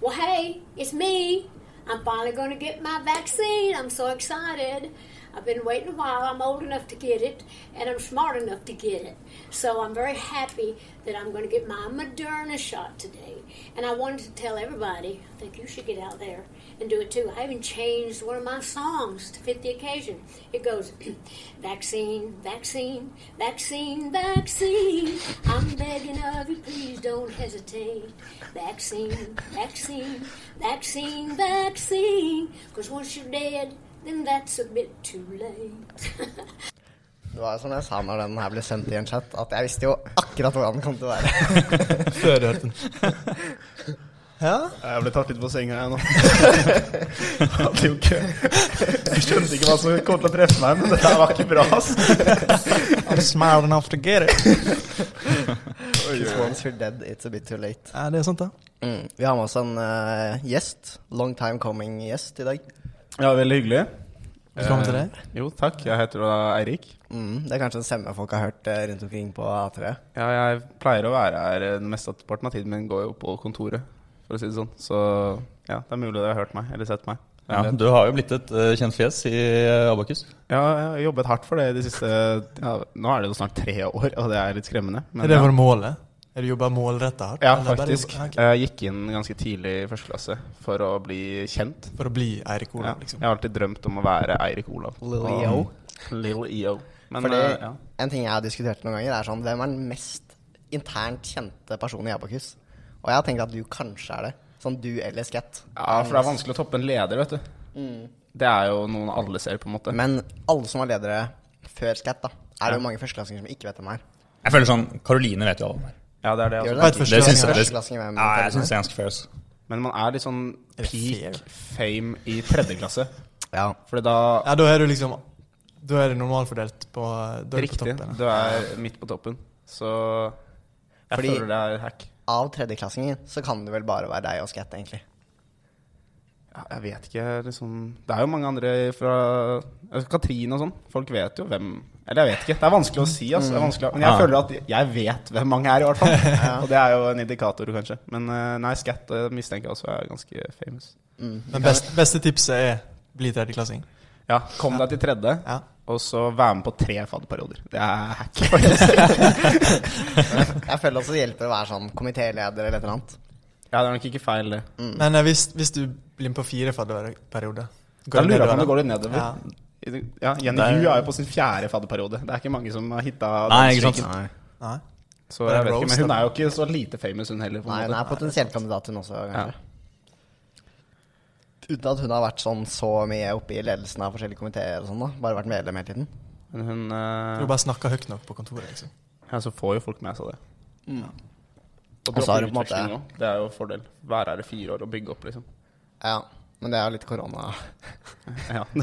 well, hey, it's me. I'm finally going to get my vaccine. I'm so excited. I've been waiting a while. I'm old enough to get it, and I'm smart enough to get it. So I'm very happy that I'm going to get my Moderna shot today. And I wanted to tell everybody, I think you should get out there and do it too. I even changed one of my songs to fit the occasion. It goes, vaccine, vaccine, vaccine, vaccine. I'm begging of you, please don't hesitate. Vaccine, vaccine, vaccine, vaccine. Because once you're dead, then that's a bit too late. Det var jo som jeg sa når den her ble sendt i en chat, at jeg visste jo akkurat hvordan den kom til å være. Før du hørte den. Ja, Jeg ble tatt litt på senga, jeg nå. Hadde jo ikke Jeg skjønte ikke hva som kom til å treffe meg, men det der var ikke bra, ass. I'm smart enough to get it. Once you're dead, it's a bit too late. Ja, det er sant, det. Mm. Vi har med oss en eh, gjest. Long time coming-gjest i dag. Ja, veldig hyggelig. Velkommen til deg. Eh, Jo, takk. Jeg heter da Eirik. Mm. Det er kanskje en stemme folk har hørt eh, rundt omkring på A3. Ja, jeg pleier å være her eh, den meste parten av tiden min går jo på kontoret, for å si det sånn. Så ja, det er mulig dere har hørt meg, eller sett meg. Ja, du har jo blitt et eh, kjent fjes i eh, Abakus. Ja, jeg har jobbet hardt for det de siste ja, Nå er det jo snart tre år, og det er litt skremmende. men Er det ja. for målet? Er det jobba målretta hardt? Ja, eller bare faktisk. Eh, jobba- ok. Jeg gikk inn ganske tidlig i første klasse for å bli kjent. For å bli Eirik Ja. Olav, Jeg liksom. E har alltid drømt om å være Eirik Olav. Lil Og- EO. Lil EO. Men Fordi eh, ja. en ting jeg har diskutert noen ganger, er sånn Hvem er den mest internt kjente personen i Abakus? Og jeg har tenkt at du kanskje er det. Sånn du eller Skatt. ja, for det er vanskelig å toppe en leder, vet du. Det er jo noen alle ser, på en måte. Men alle som var ledere før Skatt, da, er det jo mange førsteklassinger som ikke vet hvem er. Jeg føler sånn Karoline vet jo alle om meg. Ja, det er det, altså. Gjør Hva het det? første Det syns gangen? jeg, det, Førsteklassinger hvem ja, jeg hvem synes det er ganske fair. ass. Men man er litt sånn Er det fair? peak fame i tredje klasse. Ja. Fordi da Ja, da er du liksom Da er det normalfordelt på Da er du på Riktig. toppen. Du er midt på toppen. Så jeg Fordi- føler det er hack. Av tredjeklassinger så kan det vel bare være deg og Skatt, egentlig. Ja, jeg vet ikke, liksom Det er jo mange andre fra altså, Katrine og sånn. Folk vet jo hvem Eller jeg vet ikke. Det er vanskelig å si, altså. Det er vanskelig. å- Men jeg Ja. føler at jeg vet hvem mange er, i hvert fall. Og det er jo en indikator, kanskje. Men eh, nei, Scat eh, mistenker jeg også er ganske famous. Men best, beste tipset er bli tredjeklassing. Ja, kom deg til tredje, Ja. og så vær med på tre fadderperioder. Det er hack, faktisk. Jeg føler også det hjelper å være sånn komitéleder eller et eller annet. ja, det er nok ikke feil, det. Men eh, hvis, hvis du blir med på fire fadderperiode Da lurer jeg på om nedover, det da? går litt nedover. Ja. Ja, Jenny Det er- Hu er jo på sin fjerde fadderperiode. Det er ikke mange som har hitta Nei, ikke sant. Nei. Så Det er jeg vet ikke, roast, men hun da. er jo ikke så lite famous, hun heller. På Nei, en hun er måte. potensielt kandidat, hun også, kanskje. Uten at hun har vært sånn så mye oppe i ledelsen av forskjellige komiteer og sånn, da. Bare vært medlem hele tiden. Men hun Du eh, bare snakker høyt nok på kontoret, liksom. ja, så får jo folk med seg det. Og Og så er dropper det på en måte- utveksling òg. Det er jo en fordel. Være her i fire år og bygge opp, liksom. Ja, men det er jo litt korona. Ja.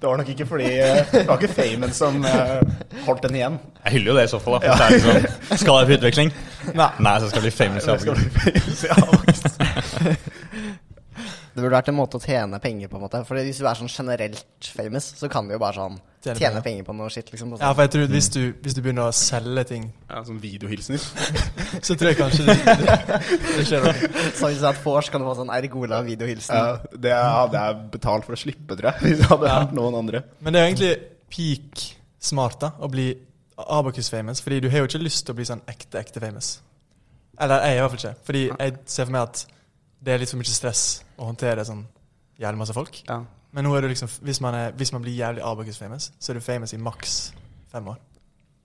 det var nok ikke fordi eh, Det var ikke famen som eh, holdt den igjen. Jeg hyller jo det i så fall. da for det er liksom, Skal jeg på utveksling? Nei, så skal jeg bli famous. i Det skal Abakus. bli famous, ja, faktisk. Det burde vært en måte å tjene penger på, på en måte. For hvis du er sånn generelt famous, så kan du jo bare sånn tjene, Tjene penger. penger. på noe shit, liksom. på Ja, sånn. for jeg tror at hvis du, hvis du begynner å selge ting, ja, sånn videohilsener. så tror jeg kanskje det, det, det skjer noe. Så hvis du er et vors, kan du få sånn Eirik Olav-videohilsen. Ja, det hadde jeg betalt for å slippe, tror jeg. Hvis det hadde vært noen andre. Men det er jo egentlig peak smart da, å bli Abakus-famous, fordi du har jo ikke lyst til å bli sånn ekte, ekte famous. Eller jeg i hvert fall ikke. Fordi jeg ser for meg at det er litt for mye stress å håndtere sånn jævlig masse folk. Ja. Men nå er det liksom, hvis man, er, hvis man blir jævlig Abakus-famous, så er du famous i maks fem år.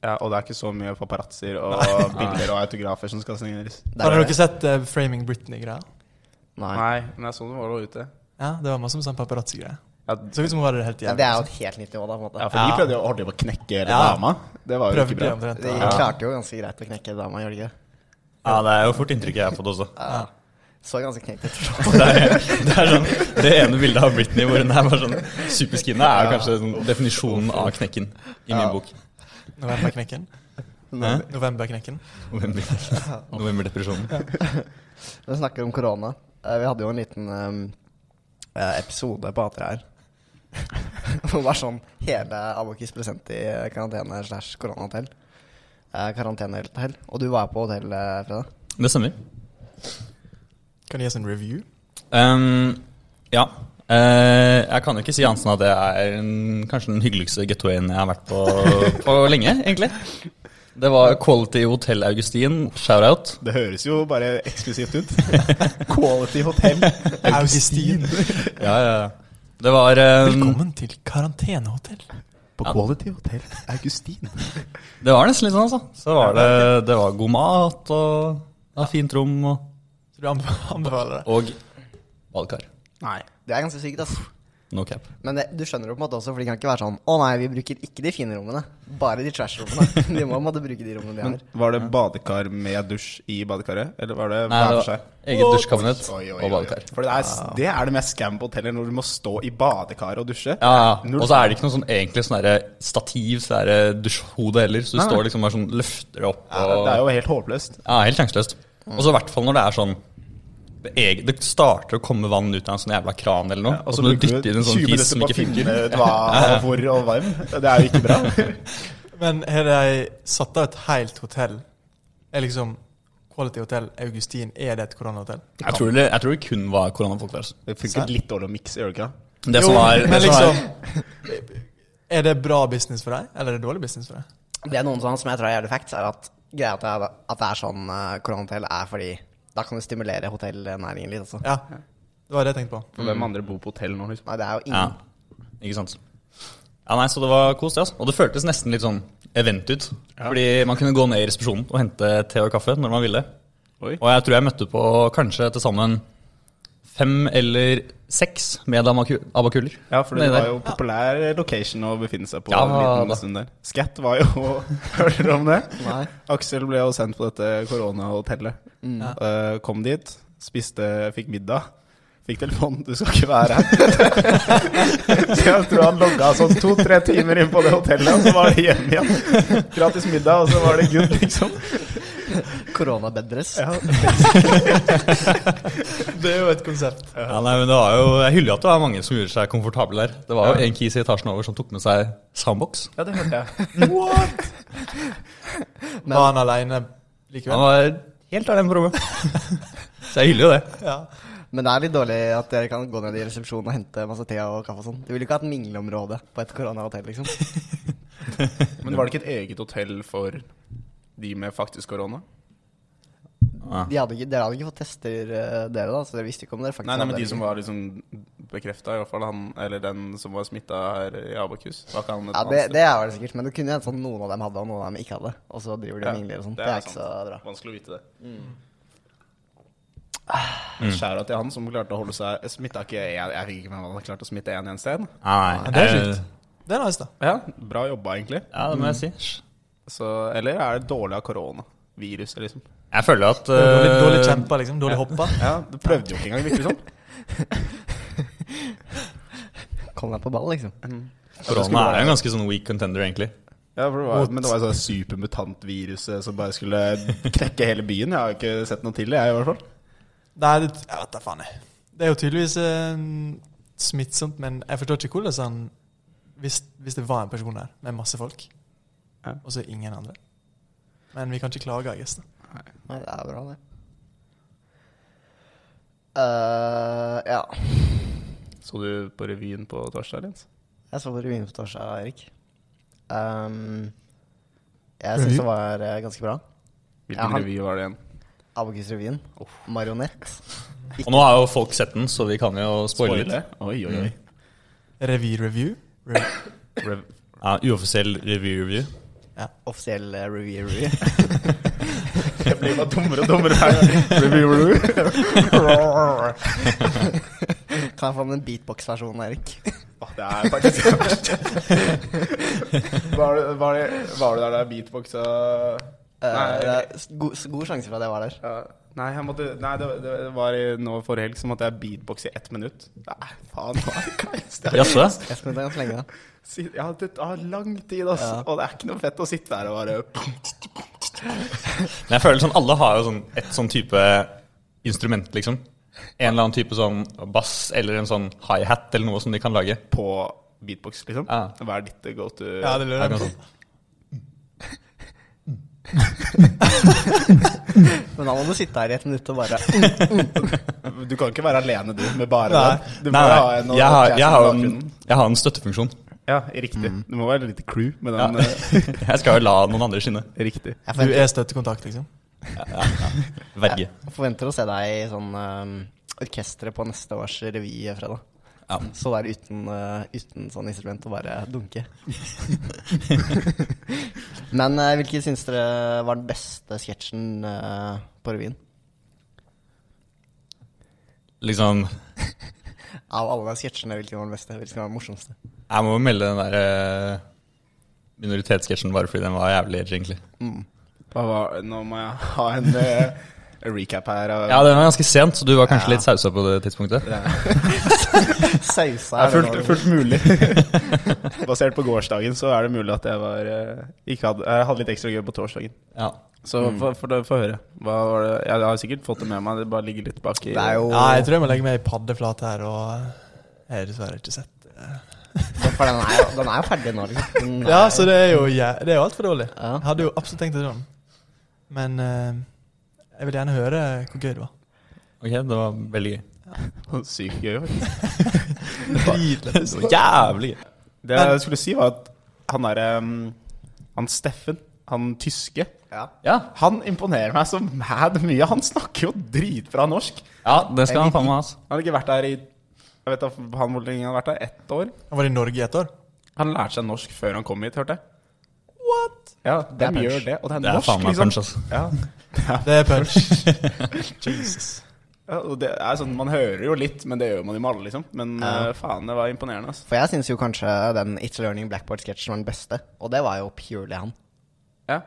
Ja, og det er ikke så mye paparazzoer og bilder og autografer som skal signeres. Det er Har jo dere sett eh, Framing Britney-greia? Nei. Nei, men jeg så den var ute. Ja, det var masse sånn paparazzi-greier. Ja, Så ut som hun hadde det helt Ja, det jævlig. er jo et helt nytt nivå, da, på en måte. ja, for de prøvde jo holdt på å knekke hele Ja. dama. Det var jo Prøvde ikke bra. det omtrent. De Ja. klarte jo ganske greit å knekke dama, gjorde de ikke? det? Ja, det er jo fort inntrykket jeg har fått også. Så ganske knekt ut. Det er, det er sånn, det ene bildet av Britney hvor hun er bare sånn superskinna, er jo kanskje sånn definisjonen av knekken i min bok. Novemberknekken. Hæ? Novemberknekken. November- Novemberdepresjonen. Når vi snakker om korona eh, Vi hadde jo en liten ehm, eh, episode på A3 her. Hvor var sånn hele Abakis present i eh, karantene slash koronahotell. Eh, Karantenehotell. Og du var på hotell, eh, Freda. Det stemmer. Kan du gi oss en review? Ehm, ja. Eh, jeg kan jo ikke si annet enn at det er en, kanskje den hyggeligste gettoen jeg har vært på på lenge, egentlig. Det var Quality Hotel Augustin, shout-out. Det høres jo bare eksklusivt ut. Quality hotell. Augustin. Ja, ja, ja. Det var ehm, Velkommen til karantenehotell. På Quality Hotel Augustin. Det var nesten litt sånn, altså. Så var det, det var god mat og det var fint rom og, Så du anbe- anbefaler det? og badkar. Nei. Det er ganske sykt, ass. No cap. Men det, du skjønner det på en måte også, for de kan ikke være sånn Å nei, vi bruker ikke de fine rommene, bare de trash-rommene. De må på en måte bruke de rommene de Men har. var det badekar med dusj i badekaret, eller var det hver Nei, det for var seg? eget dusjkabinett Oi, oi, og oi. badkar. For det er, det er det mest scam på hoteller, når du må stå i badekaret og dusje. Ja, ja. Når- Og så er det ikke noe sånn egentlig sånn derre stativ, så er det dusjhode heller. Så du står liksom bare sånn løfter det opp Ja, og Det er jo helt håpløst. Ja, helt sjanseløst. Og så i hvert fall når det er sånn det, eg- det starter å komme vann ut av en sånn jævla kran eller noe, og så må du dytte inn en sånn fis som ikke funker. finne ut hva, hvor og varm. Det er jo ikke bra. Men har de satt av et helt hotell? Er liksom Quality Hotel Augustin, er det et koronahotell? Jeg tror, det, jeg tror det kun var koronafolk der. altså. Det funker litt dårlig å mikse, gjør det ikke? det? Det som var, det men som var liksom Er det bra business for deg, eller er det dårlig business for deg? Det er noen sånn som jeg tror er jævlig facts, er at greia at det er, at det er sånn uh, koronahotell, er fordi da kan du stimulere hotellnæringen litt, altså. Ja. Det var det jeg tenkte på. For hvem andre bor på hotell nå, liksom? Nei, det er jo Ja, ingen ikke sant. Ja, nei, Så det var kos, det. altså. Og det føltes nesten litt sånn event ut. Fordi man kunne gå ned i resepsjonen og hente te og kaffe når man ville. Oi. Og jeg tror jeg møtte på kanskje til sammen fem eller seks med amaku- abakuler. Ja, for det Nede var der. jo populær location å befinne seg på Ja, en liten da. stund der. Skatt var jo Hører dere om det? Nei. Aksel ble jo sendt på dette koronahotellet. Eh, kom dit, spiste, fikk middag. Fikk telefon 'du skal ikke være her'. så jeg tror han logga sånn to-tre timer inn på det hotellet, og så var det hjem igjen. Gratis middag, og så var det good, liksom. koronabedres. Ja, Det er jo et konsept. Ja, nei, men det var jo, Jeg hyller jo at det var mange som gjorde seg komfortable der. Det var jo en kis i etasjen over som tok med seg soundbox. ja det hørte jeg. What? Var han aleine Han likevel? var helt alene på rommet. Så jeg hyller jo det. Ja. Men det er litt dårlig at dere kan gå ned i resepsjonen og hente masse te og kaffe og sånn. Du ville ikke hatt mingleområde på et koronahotell, liksom. Men var det ikke et eget hotell for de med faktisk korona? Ja. De hadde ikke, dere hadde ikke fått tester, eh, dere, da, så dere visste ikke om dere faktisk Nei, nei, men hadde de det. som var liksom bekrefta, i hvert fall han Eller den som var smitta her i Abakus. Var ikke han et Ja, annet det, sted? det er vel sikkert, men det kunne jo hende sånn noen av dem hadde, og noen av dem ikke hadde. Og så driver de og mingler og sånn. Det, er ikke så sant. bra. Vanskelig å vite det. Ah. Men Skjæra til han som klarte å holde seg Smitta ikke Jeg, jeg fikk ikke med meg at han klarte å smitte én eneste en. Nei, Det er eh, sjukt. Det er nice, da. Ja, bra jobba, egentlig. Ja, det må jeg si. Så, eller er det dårlig av koronaviruset, liksom? Jeg føler at Dårlig, eh, dårlig kjempa, liksom. Dårlig hoppa. Ja, Du prøvde jo ikke engang, virker det som. Kom deg på ball, liksom. Korona er jo en ganske sånn weak contender, egentlig. Ja, for det var, men det var jo sånn supermutantvirus som bare skulle knekke hele byen. Jeg har jo ikke sett noe til det, jeg, i hvert fall. Nei, det, jeg vet da faen. jeg. Det er jo tydeligvis eh, smittsomt, men jeg forstår ikke hvordan han hvis, hvis det var en person her med masse folk, Ja. og så ingen andre Men vi kan ikke klage, jeg gjetter. Nei, det er bra, det. Eh, ja. Så du på revyen på torsdag, Jens? Jeg så på revyen på torsdag, Erik. Ehm, jeg syns det var eh, ganske bra. Hvilken Ja, han- revy var det igjen? Abokus-revyen. Marionett. Og nå har jo folk sett den, så vi kan jo spoile litt. Spoiler? Oi, oi, oi. Revy-review. Re Mm. Rev Ja, uoffisiell review-review. Offisiell eh, review-review. det blir bare dummere og dummere her. Review. kan jeg få den beatbox-versjonen, Erik? Åh, Det er faktisk det verste. Var du, var det, var du der da jeg beatboxa Eh, Nei, det er s- god, s- god sjanse for at jeg var der. ja, Nei, jeg måtte, nei det, det var i, nå forrige helg, så måtte jeg beatboxe i ett minutt. Nei, faen, hva er det? Jaså? Jeg skulle ganske lenge da. Si- Ja, det tar lang tid, ass. Ja. Og det er ikke noe fett å sitte der og bare Men jeg føler sånn, alle har jo sånn et sånn type instrument, liksom. En eller annen type sånn bass eller en sånn hi-hat eller noe som de kan lage. på beatbox, liksom. Ja. Hva er ditt go to ja, det lurer jeg på. Men da må du sitte her i et minutt og bare Du kan ikke være alene, du, med bare Nei. den. Du må Nei, ha en nei, jeg har, jeg, har en, bakgrunnen. jeg har en støttefunksjon. Ja, riktig. Du må være litt crew med Ja. den. eh, Jeg skal jo la noen andre skinne. riktig. Jeg Du forventer, er støttekontakt, liksom? Verge. jeg forventer å se deg i sånn eh, orkesteret på neste års revy eh, fredag. Ja. Så der uten, eh, uten sånn instrument og bare dunke. Men uh, hvilken syns dere var den beste sketsjen eh, på revyen? Liksom, Av alle sketsjene, hvilken var den beste? Hvilken var den morsomste? jeg må jo melde den der eh, minoritetssketsjen bare fordi den var jævlig edgy, egentlig. Hva var, nå må jeg ha en eh, recap her. av- Ja, den var ganske sent, så du var kanskje litt sausa på det tidspunktet. Sausa er Det er fullt, det nå. fullt mulig. Basert på gårsdagen så er det mulig at jeg var eh, ikke hadde, Jeg hadde litt ekstra gøy på torsdagen. Ja. Så Mm. få- få få høre. Hva var det? Jeg har sikkert fått det med meg, det bare ligger litt bak i Det er jo Nei, jeg tror jeg må legge meg i paddeflat her, og jeg har dessverre ikke sett det. For den er, jo- den er jo ferdig nå, liksom. Den er- Ja, så det er jo, ja, det er jo altfor dårlig. Ja. Jeg hadde jo absolutt tenkt å se den. Men eh, jeg vil gjerne høre hvor gøy det var. Ok, det var veldig gøy. Sykt gøy. faktisk. Dritlett. Så jævlig gøy. Det jeg skulle si, var at han derre Han Steffen, han tyske ja. Ja, han imponerer meg så mad mye. Han snakker jo dritbra norsk. ja det skal han faen meg ha. altså. ass. Han har ikke vært der i Jeg vet da han hvor lenge han har vært der. Ett år. Han var i Norge i et år. Han lærte seg norsk før han kom hit, hørte jeg. What? Ja, Det er de punch. gjør det. Og det er, Det er norsk, faen meg liksom. punch, ass. Ja. Det er punch. Jesus. Ja, og det er sånn, Man hører jo litt, men det gjør man jo med alle, liksom. Men eh, faen, det var imponerende. altså. ass. For jeg syns jo kanskje den It's Learning Blackboard-sketsjen var den beste. Og det var jo purely han. Ja.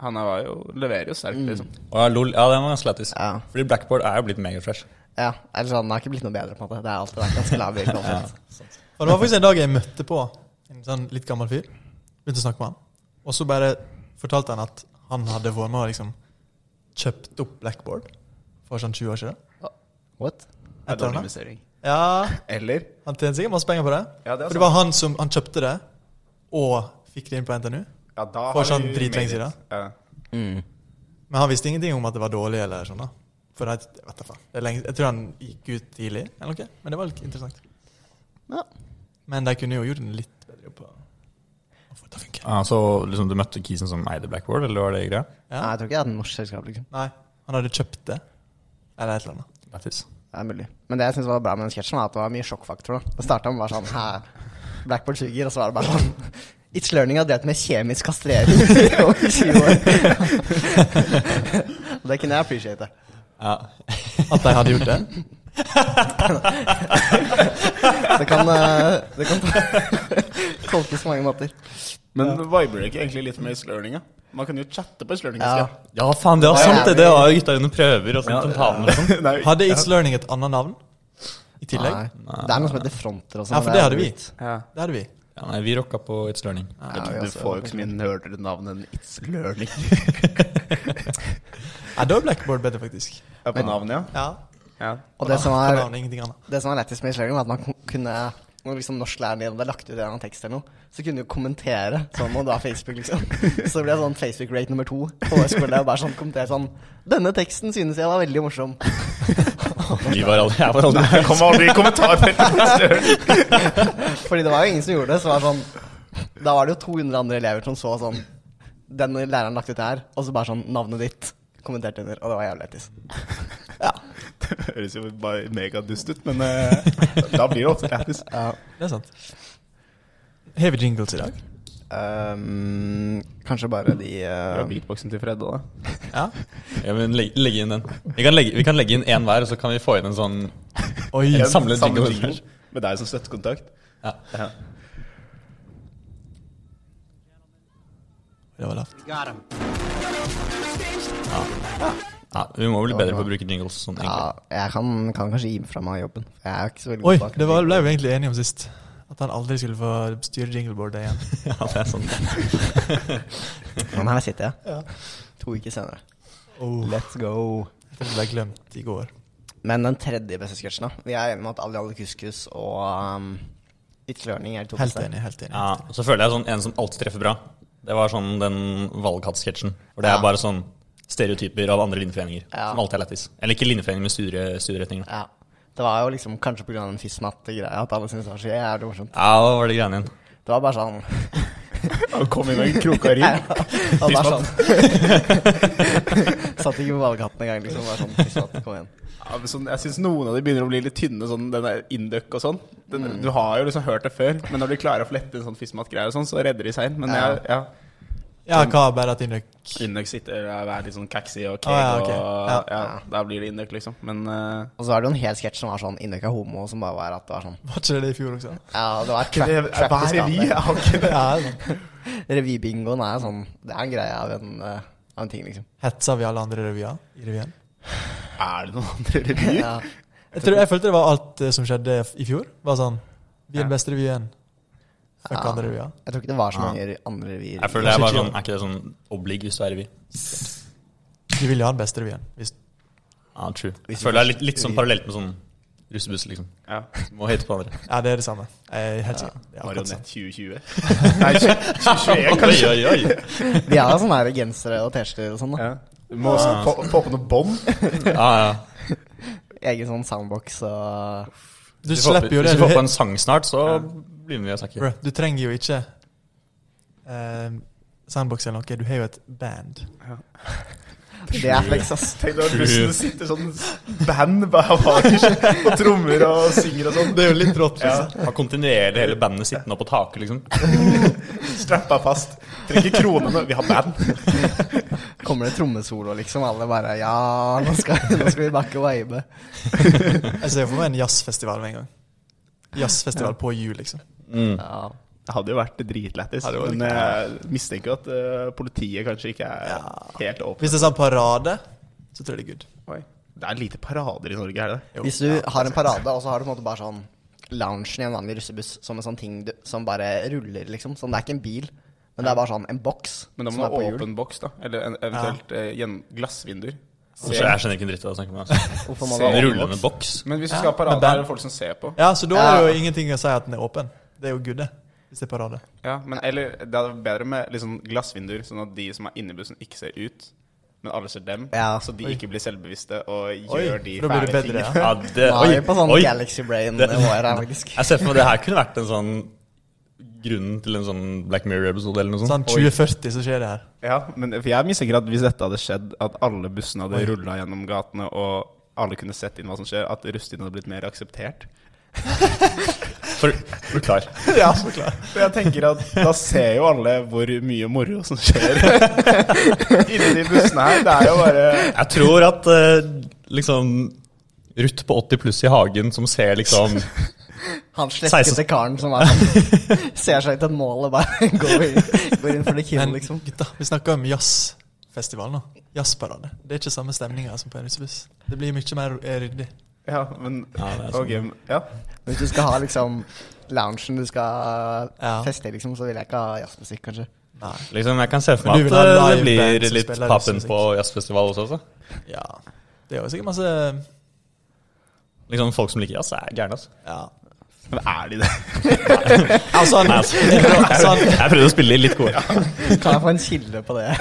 Han her var jo, leverer jo sterkt, liksom. Å, ja, lol. Ja, den var ganske lættis. Ja. Fordi Blackboard er jo blitt megatrash. Ja, eller sånn, Det har ikke blitt noe bedre, på en måte. Det er alltid vært ganske lav kvalitet. Og det var faktisk en dag jeg møtte på en sånn litt gammel fyr. Begynte å snakke med han. Og så bare fortalte han at han hadde vært med og liksom kjøpt opp Blackboard for sånn 20 år siden. What? Det er Etter dårlig han, da. investering. Ja, Eller? han tjener sikkert masse penger på det. Ja, det er for det var han som han kjøpte det, og fikk det inn på NTNU. Ja, da For har sånn vi dritlenge made it. siden. Ja. Men han visste ingenting om at det var dårlig eller sånn, da. For jeg, jeg vet da faen. Det er lenge, jeg tror han gikk ut tidlig, eller noe. Men det var litt interessant. Ja. Men de kunne jo gjort en litt bedre jobb. på- å få det til å funke. Ja, så liksom, du møtte kisen som eide Blackboard, eller var det greia? Ja. Nei, jeg tror ikke det er et norsk selskap, liksom. Nei, han hadde kjøpt det. Eller et eller annet. Lættis. Det er mulig. Men det jeg syns var bra med den sketsjen, var at det var mye sjokkfaktor. da. Det starta med bare sånn Hæ, Blackboard suger, og så var det bare sånn It's Learning har drevet med kjemisk kastrering i over 20 år. Og det kunne jeg appreciate. Ja. At de hadde gjort det? Det kan, eh, det kan tolkes på mange måter. Men viber det ikke egentlig litt med islørninga? Man kan jo chatte på islørninga. Ja. Ja. ja, faen, det var Det er sant, det. jævlig. Det var jo gutta under prøver og sånn, tentamer og sånn. Nei, Hadde It's Learning et annet navn i tillegg? Nei. Det er noe som heter fronter og sånn. Ja, for det hadde vi. ja. Det hadde vi. Ja, nei, vi rocka på It's Learning. Ja, vi Du også- får jo ikke så mye nerdere navn enn It's Learning. Ja, da er Blackboard bedre, faktisk. Ja, på navnet, Ja. ja. ja. Og det som er navn, ingenting annet. Det som var lettest med isolering, var at man kon- kunne når liksom norsklæreren din hadde lagt ut en eller annen tekst, eller noe, så kunne du kommentere sånn, og da Facebook, liksom. Så ble det sånn Facebook-rate nummer to på høyskolen. Og bare sånn kommentere sånn 'Denne teksten synes jeg var veldig morsom'. Vi var aldri, jeg var aldri Det kommer aldri i kommentarfeltet. Fordi det var jo ingen som gjorde det. Så var det sånn Da var det jo 200 andre elever som så sånn Den læreren lagt ut det her, og så bare sånn navnet ditt kommentert under. Og det var jævlig lættis. Det høres jo bare megadust ut, men eh, da blir det ofte lættis. Ja. Det er sant. Har vi jingles i dag? Ehm, kanskje bare de Fra eh, beatboxen til Fredde, da. Ja. Ja, men legge, legge inn den. Vi kan legge, vi kan legge inn én hver, og så kan vi få inn en sånn Oi. En samlet Samme jingle. jingle med deg som støttekontakt. Ja. Det var lavt. ja, Vi må bli bedre på å bruke jingles sånn, Ja, egentlig. jeg kan, kan kanskje gi fra meg jobben. Jeg er ikke så veldig Oi, god på det var, akkurat ble vi egentlig enige om sist. At han aldri skulle få styre jingleboardet igjen. Ja, det er sånn. Men her sitter jeg. To uker senere. Oh, Let's go. jeg følte det ble glemt i går. Men den tredje beste sketsjen, da? Vi er enige om at Ali Ali Kuskus og um, It's Learning er de to Helt beste. enig. helt enig. Ja, og så føler jeg sånn en som alltid treffer bra. Det var sånn den valghattsketsjen. Hvor det Ja. er bare sånn stereotyper av andre linjeforeninger. Ja. Som alltid er lættis. Eller ikke linjeforeninger, men studie, studieretninger. da. Ja. Det var jo liksom kanskje pga. den fissmatte-greia at alle syntes det var så jævlig morsomt. Ja, hva var det greiene igjen? Det var bare sånn Han kom inn med en kroka rim. Det var bare sånn Satt ikke på valghatten engang, liksom. Bare sånn fissmatte, kom igjen. Ja, men sånn, jeg syns noen av de begynner å bli litt tynne, sånn den der induck og sånn. Den, Mm. Du har jo liksom hørt det før, men når de klarer å flette en sånn fismat-greie og sånn, så redder de seg inn. Men Ja. jeg, ja. Ja, hva har bare hatt innrykk? Induck sitter og er litt sånn caxy og keg, Ah, ja, ok. Ja. og ja, da blir det induck, liksom. Men eh, Og så var det jo en hel sketsj som var sånn Indøk er homo, som bare var at det var sånn Var ikke det det i fjor også? Ja, det var Hva crap, crap i er vi? skapet. Jeg har ikke det. Ja, sånn. Revybingoen er sånn Det er en greie av en, eh, av en ting, liksom. Hetsa vi alle andre revyer i revyen? Er det noen andre revyer? Ja. Jeg, tror, jeg følte det var alt eh, som skjedde f- i fjor. Var sånn Vi er den beste revyen. Fuck Ja. andre revyer. Jeg tror ikke det var så mange andre revyer. Jeg føler det er bare sånn, er ikke det sånn oblig hvis du er revy? Vi vil jo ha den beste revyen. Hvis, Ja, true. Jeg føler det er litt, litt sånn parallelt med sånn russebuss, liksom. Ja. Må hate på andre. ja, det er det samme. Jeg er helt sikker. Ja, akkurat sånn. Marionett 2020. Nei, 2021, Oi, kanskje. oi, oi. Vi har sånne her gensere og T-skjorter og sånn. da Ja. Du må også få, få på noe bånd. Ja, ja. Egen sånn soundbox og Du Hvis vi får- slipper jo Hvis det. vi Du, får på en sang snart, så blir vi å snakke. Bruh, du trenger jo ikke eh, sandbox eller noe. Du har jo et band. Det er flex, ass. Tenk deg at bussen sitter sånn band bare bak og trommer og synger og sånn. Det er jo litt rått. Ja, Han kontinuerlig hele bandet sittende oppå taket, liksom. Strappa fast. Trenger ikke krone nå. Vi har band. Kommer det trommesolo, liksom? Alle bare Ja, nå skal, nå skal vi backe og vibe. Jeg ser for meg en jazzfestival med en gang. Jazzfestival på jul, liksom. Ja. Det hadde jo vært dritlættis. Ja, det var Men jeg mistenker jo at eh, politiet kanskje ikke er helt åpne. Hvis det er sånn parade, så tror jeg det er good. Oi. Det er lite parader i Norge, er det det? Jo. Hvis du har en parade, og så har du på en måte bare sånn loungen i en vanlig russebuss som en sånn ting du, som bare ruller, liksom. Sånn, det er ikke en bil, men det er bare sånn en boks Men da som må er du på ha hjul. åpen boks, da. Eller en- eventuelt eh, gjen- glassvinduer. Altså, Så jeg skjønner ikke en dritt av det å snakke med. Altså. Hvorfor må Se- du ha En åpen rullende boks. Men hvis du skal ha parade, men band- er det folk som ser på. Ja, så da er det Ja. jo ingenting å si at den er åpen. Det er jo good, det. Hvis det er parade. Ja, men eller Det hadde vært bedre med liksom glassvinduer, sånn at de som er inni bussen, ikke ser ut. Men alle ser dem, Ja. så de Oi. ikke blir selvbevisste og Oi, gjør de for da blir det fæle bedre, tingene. ja. Ja, det, Nei, på sånn Galaxy Brain-nivå her, faktisk. Jeg ser for meg det her kunne vært en sånn grunnen til en sånn Black Mirror-episode eller noe Sånn sånt. 2040 så skjer det her. Ja, men for jeg mistenker at hvis dette hadde skjedd, at alle bussene hadde rulla gjennom gatene, og alle kunne sett inn hva som skjer, at russetiden hadde blitt mer akseptert. For, forklar. Ja, så klart. For jeg tenker at da ser jo alle hvor mye moro som skjer inni de bussene her. Det er jo bare Jeg tror at eh, liksom Ruth på 80 pluss i hagen som ser liksom Han 16. slekkete karen som er sånn Ser seg ut et mål og bare går inn, går inn for the kill, Men liksom. gutta, vi snakker om jazzfestival nå. Jazzparade. Det er ikke samme stemninga som på en russebuss. Det blir mye mer eh, ryddig. Ja, men Ja, det er ok, sånn. men- ja. Hvis du skal ha liksom loungen du skal Ja. feste i, liksom, så vil jeg ikke ha jazzmusikk, kanskje. Nei. liksom, Jeg kan se for Men du meg vil at ha eh, det live band blir som litt spiller pappen russisk. på jazzfestival også. altså. Ja. Det er jo sikkert masse Liksom Folk som liker jazz, er gærne. Altså. Ja. Men er de det? Ja, sånn, Nei, altså. sånn, Jeg prøvde å spille litt gode. Kan jeg få en kilde på det?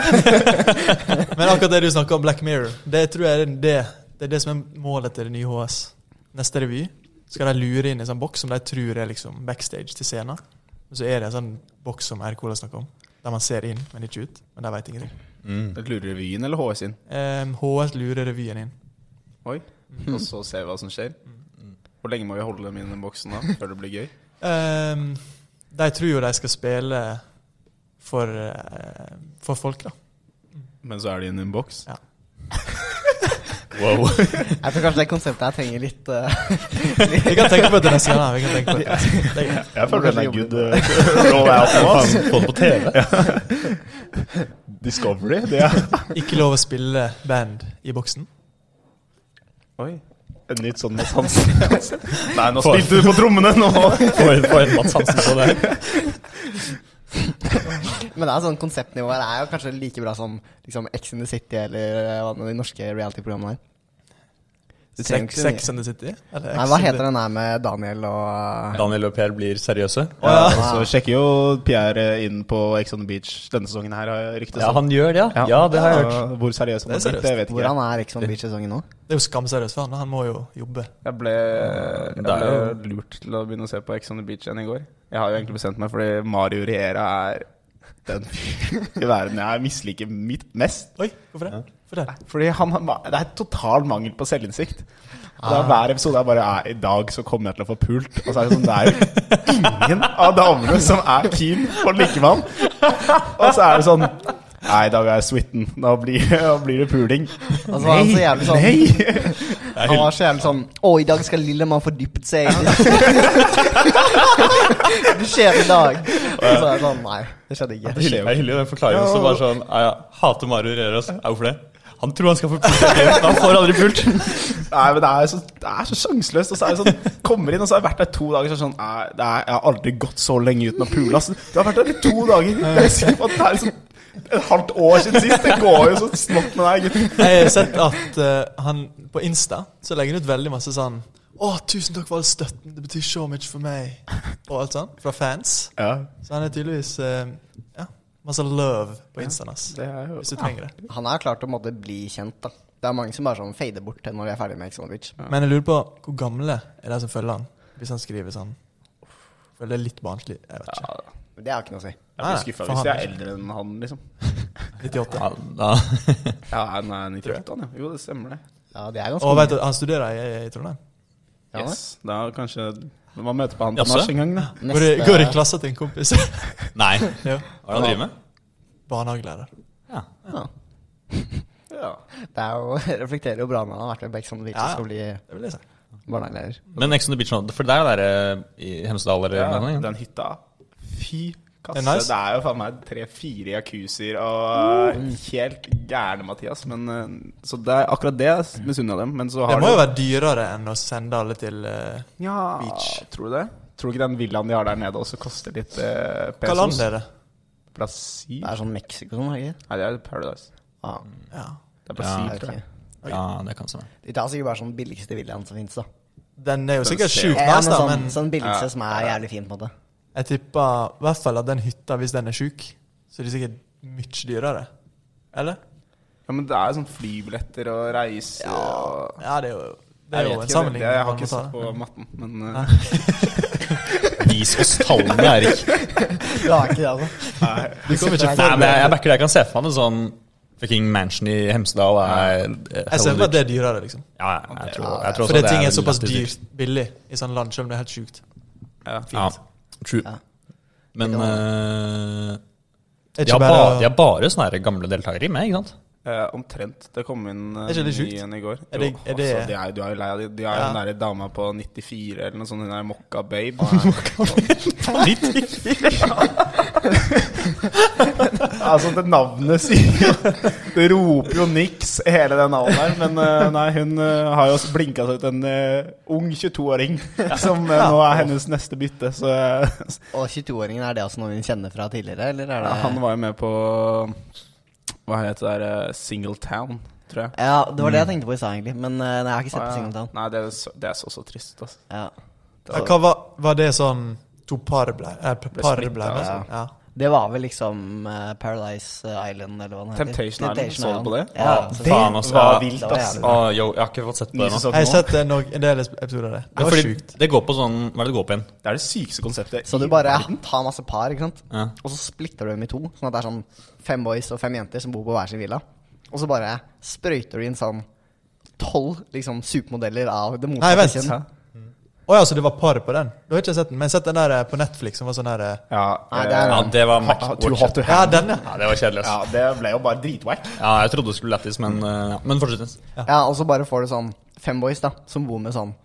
Men akkurat det du snakker om, Black Mirror, det tror jeg er det, det er det som er målet til det nye HS. Neste revy skal de lure inn i en sånn boks som de tror er liksom backstage til scenen. Men så er det en sånn boks som RK snakker om, der man ser inn, men ikke ut. Men de veit ingenting. Lurer revyen eller HS inn? Ehm, HS lurer revyen inn. Oi. Mm, Og så ser vi hva som skjer. Hvor lenge må vi holde dem i den boksen da, før det blir gøy? Ehm, de tror jo de skal spille for, eh, for folk, da. Men så er de inne i en boks. Ja. Wow. Jeg tror kanskje det konseptet her trenger litt eh, Vi kan tenke på det til neste gang. da. Vi kan tenke på det. Det er greit. Jeg føler den er good, Roll out nå, ass. Få det på TV. Discovery, det er Ikke lov å spille band i boksen. Oi. En nytt sånn Mads Hansen. Nei, nå spilte du på trommene! Nå Få en- få en Mads Hansen på det. her. Men det er sånn konseptnivå her. Det er jo kanskje like bra som liksom, X in the City eller eh, hva nå de norske reality-programmene er. Du trenger Sex, ikke så mye. Sex and the City? Eller Nei, X hva and heter the- den her med Daniel og eh, Daniel og Per blir seriøse. Ja, ja. og Så sjekker jo Pierre eh, inn på Ex on the Beach denne sesongen her, har jeg ryktet Ja, han gjør det, ja. Ja, det har jeg hørt. Hvor seriøs han Det er, er blitt, det vet ikke jeg. Hvordan er Exxon Beach-sesongen nå? Det er jo skamseriøst for han. Han må jo jobbe. Jeg ble, jeg Det er ble lurt til å begynne å se på Ex on the Beach igjen i går. Jeg har jo egentlig bestemt meg fordi Mario Riera er den fyren i verden jeg misliker mitt mest. Oi, hvorfor det? For det? Fordi han, har ma- det er total mangel på selvinnsikt. Det er Hver episode er bare «Ja, I dag så kommer jeg til å få pult. Og så er det sånn, det er jo ingen av damene som er keen på likemann. Og så er det sånn Nei, i dag er jeg suiten. Da blir, da blir det puling. Altså, han er så jævlig sånn- nei! Han var så jævlig sånn Å, i dag skal Lillemann fordypet seg i Det skjer i dag. Og så er jeg sånn Nei, det skjedde Jeg ikke. hyller- Jeg hyller jo den forklaringen som bare sånn «Ja, Jeg hater Mario Røros. Ja, Hvorfor det? Han tror han skal få pult, ok, men han får aldri pult. Nei, men det er så, det er så sjanseløst. Og så er det sånn, kommer inn, og så har jeg vært der to dager. Så er det sånn, nei, det er, jeg har aldri gått så lenge uten å pule. ass. Du har vært der i to dager. Jeg er sikker på at det er liksom et halvt år siden sist. Det går jo så smått med deg, gutten. Jeg har sett at eh, han på Insta så legger han ut veldig masse sånn Å, tusen takk for all støtten. Det betyr så mye for meg. Og alt sånn. Fra fans. Ja, Så han er tydeligvis eh, Ja, masse love på Instaen hans. det er jo Hvis du trenger det. Han er klart å måtte bli kjent, da. Det er mange som bare sånn fader bort til når de er ferdig med Exxon Beach. Men jeg lurer på hvor gamle er de som følger han? Hvis han skriver sånn Føler det er litt barnslig. Jeg vet ikke. Men det har ikke noe å si. Jeg blir skuffa hvis faen. jeg er eldre enn han, liksom. 98. Ja, da. Ja, han er 98, han, ja. Jo, det stemmer, det. Ja, det er ganske Og vet du, han studerer i, i Trondheim. Ja, Yes. Da kanskje Men Man møter på han på Jaså? nach en gang, da. Går i, går i klassa til en kompis. Nei. ja. Hva er det han driver med? Barnehagelærer. Ja. Ja. Ja. Det er jo, reflekterer jo bra med han har vært med på Exxon Beach Ja, og ja. skal bli Det vil jeg si. barnehagelærer. Men Ex on the Beach nå, for det er jo der eh, i Hemsedal eller ja. noe, ja. Den hytta. Fy kasse. Det Det er er, nice. jo faen meg tre-fire jacuzzier og Mm. helt gærne, Mathias. Men, eh, så det er akkurat det jeg misunner dem. Men så Det har må jo du- være dyrere enn å sende alle til eh, ja, beach. Tror du det? Tror du ikke den villaen de har der nede, også koster litt eh, Hva land pesos? er det? Brasil? Det er sånn Mexico sånn, er det ikke? Nei, det er Paradise. Ja, Ja. Det er Ja, Brasil, jeg vet tror ikke. jeg. ja, det kan stemme. De tar sikkert bare sånn billigste villaen som fins, da. Den er jo Den sånn- sikkert ser- sjukt Ja, men nice, da, sånn, men sånn billigste Ja. som er jævlig fin, på en måte. jeg tipper i hvert fall at den hytta, hvis den er sjuk, så er det sikkert mye dyrere. Eller? Ja, men det er sånn flybilletter og reise og Ja, det er jo, det er jo Jeg vet en ikke, sammenligning. det- Jeg har man må ikke ta. sett på matten, men eh, Vis oss tallene, Erik. Du har ikke det, altså. Du kommer ikke Nei, for men jeg, jeg backer det. Jeg kan se for meg en sånn fucking mansion i Hemsedal. Er, Jeg ser for meg at det er dyrere, liksom. Ja, jeg, jeg tror, jeg tror også Fordi ting er veldig såpass lett dyrt billig i sånne land, selv om det er helt sjukt. Ja, true. Ja. Men Det eh, Er de, har ikke bare, de bare, har bare sånne her gamle deltakere i meg, ikke sant? Eh, omtrent. Det kom inn eh, Er ikke det ny sjukt? igjen i går. Er det- Jo, er det- altså, de er, du er jo lei av de. De er Ja. jo den der dama på 94 eller noe sånt. Hun er mokka babe. altså, det navnet sier jo Det roper jo niks, hele det navnet her. Men eh, nei, hun eh, har jo også blinka seg ut en eh, ung 22-åring som eh, nå er hennes neste bytte. Så eh, Og 22-åringen, er det også noen vi kjenner fra tidligere, eller er det ja, han var jo med på Hva heter det der? eh, Singletown, tror jeg. Ja, det var det jeg tenkte på i stad, egentlig. Men eh, nei, jeg har ikke sett på Singleton. Nei, det er, så, det er så, så trist, altså. Ja. Ja, hva var, var det sånn To par ble, eh, par ble splittet, med? altså. Ja. Det var vel liksom eh, Paradise Island, eller hva den heter. Temptation Island, så du på det? Ja, Å, Altså, så- faen, ass. var Ja. vilt, det var ass. jævlig bra. Å, yo, jeg har ikke fått sett på det Nye nå. sesong Jeg har nå. sett eh, no- en del episoder av det. Det var Fordi sjukt. det går på sånn Hva er det det går på igjen? Det er det sykeste konseptet. Så i du bare verden. tar masse par, ikke sant. Ja. Og så splitter du dem i to, sånn at det er sånn fem boys og fem jenter som bor på hver sin villa. Og så bare sprøyter du inn sånn tolv liksom, supermodeller av det Nei, motsatte vent. kjønn. Å ja, så det var par på den? Da har ikke jeg sett den. Men jeg har sett den der eh, på Netflix som var sånn der eh, Ja, Nei, det er- Ja, det var Mac. Ha- Too hot to Ja, handle. den, ja. Ja, det var kjedelig, Ja, ass. det ble jo bare dritwack. Ja, jeg trodde det skulle bli lættis, men, eh, ja. men fortsett. Jens. Ja, og så bare får du sånn fem boys da som bor med sånn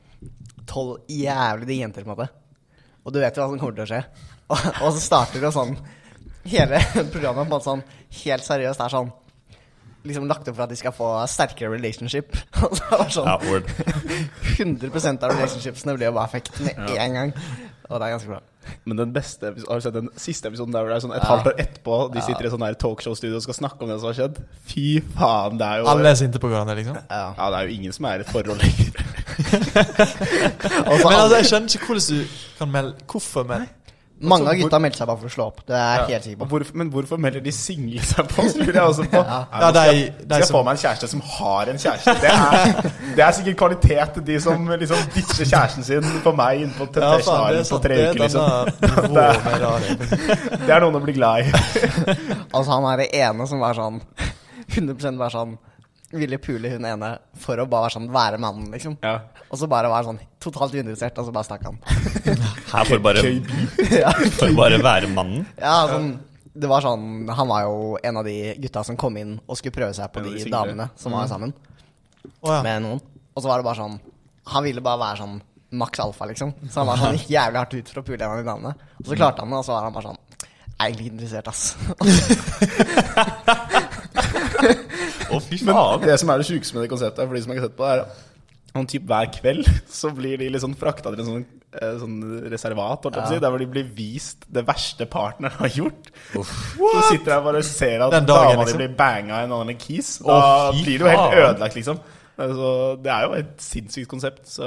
tolv jævlig digge jenter, på en måte. Og du vet jo hva som kommer til å skje. Og, og så starter det sånn Hele programmet på en måte sånn helt seriøst er sånn Liksom lagt opp for at de skal få sterkere relationship. Og så er det Ja, sånn word. 100 av relationshipsene blir jo bare fucked med en gang. Og det er ganske bra. Men den beste episoden, har du sett den siste episoden der hvor det er sånn et Ja. halvt år etterpå, de sitter i sånn der talkshow-studio og skal snakke om det som har skjedd? Fy faen, det er jo Alle er sinte på hverandre, liksom. Ja. Ja, det er jo ingen som er i et forhold lenger. Men altså, jeg skjønner ikke hvordan du kan melde Hvorfor melde? altså, Mange av gutta meldte seg bare for å slå opp. Det er jeg helt sikker Og på. hvorfor, men hvorfor melder de single seg på? Lurer jeg også på. Ja, de- skal, jeg- de skal jeg som- få meg en kjæreste som har en kjæreste? Det er, det er sikkert kvalitet til de som liksom ditcher kjæresten sin for meg innpå Temptation Island på tre uker. Liksom. denne rå med rare. Det er noen å bli glad i. Altså, han er det ene som er sånn 100 bare sånn ville pule hun ene for å bare være sånn være mannen, liksom. Ja. Og så bare være sånn totalt uinteressert, og så bare stakk han. Her får bare, ja. får bare være mannen. ja, sånn det var sånn, Han var jo en av de gutta som kom inn og skulle prøve seg på En av de, de single. Mm. damene som var sammen Å ja. med noen. Og så var det bare sånn Han ville bare være sånn maks alfa, liksom. Så han var sånn gikk jævlig hardt ut for å pule en av de damene. Og Mm. så klarte han det, og så var han bare sånn Jeg er egentlig ikke interessert, ass. Å, fy Men faen. det som er det sjukeste med det konseptet, for de som ikke har sett på, er Sånn typ hver kveld så blir de liksom frakta til en sånn, eh, sånn reservat, holdt jeg på å si, der hvor de blir vist det verste partneren har gjort. Så sitter de bare og ser at Den dagen, dama di liksom. blir banga av en annen kis. Da Å, fy blir det jo helt faen. ødelagt, liksom. Så det er jo et sinnssykt konsept, så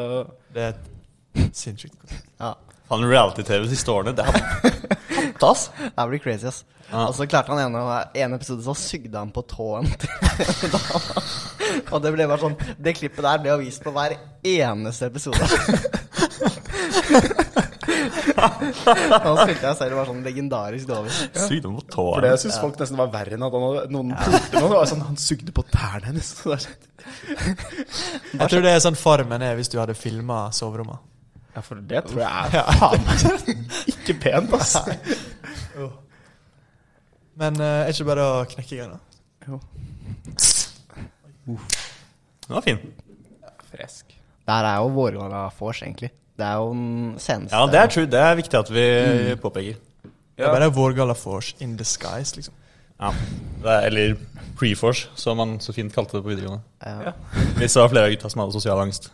Det er et sinnssykt konsept. Ja. Faen, reality-TV de siste årene, det er Tass? Det blir crazy, ass. Og så klarte han ene, en episode, så sugde han på tåen til en dame. Og det ble bare sånn Det klippet der ble jo vist på hver eneste episode. Nå spilte jeg selv bare sånn legendarisk dårlig. sykdom på For det tåa. syns folk nesten var verre enn at han hadde noen pulte noen. Det var sånn, han sugde på tærne hennes. Så det er sånn- Jeg tror det er sånn Farmen er hvis du hadde filma soverommet. Ja, for det tror jeg er faen meg ikke pent, ass. Men eh, er ikke bare å knekke i gang, da? Den var fin. Fresk. Det her er jo vårgårda vors, egentlig. Det er jo den seneste Ja, det er true. Det er viktig at vi Mm. påpeker. Det er bare Vårgalla Force in disguise, liksom. Ja. Det er, eller pre-force, som man så fint kalte det på videregående. Ja. Hvis det var flere av gutta som hadde sosial angst.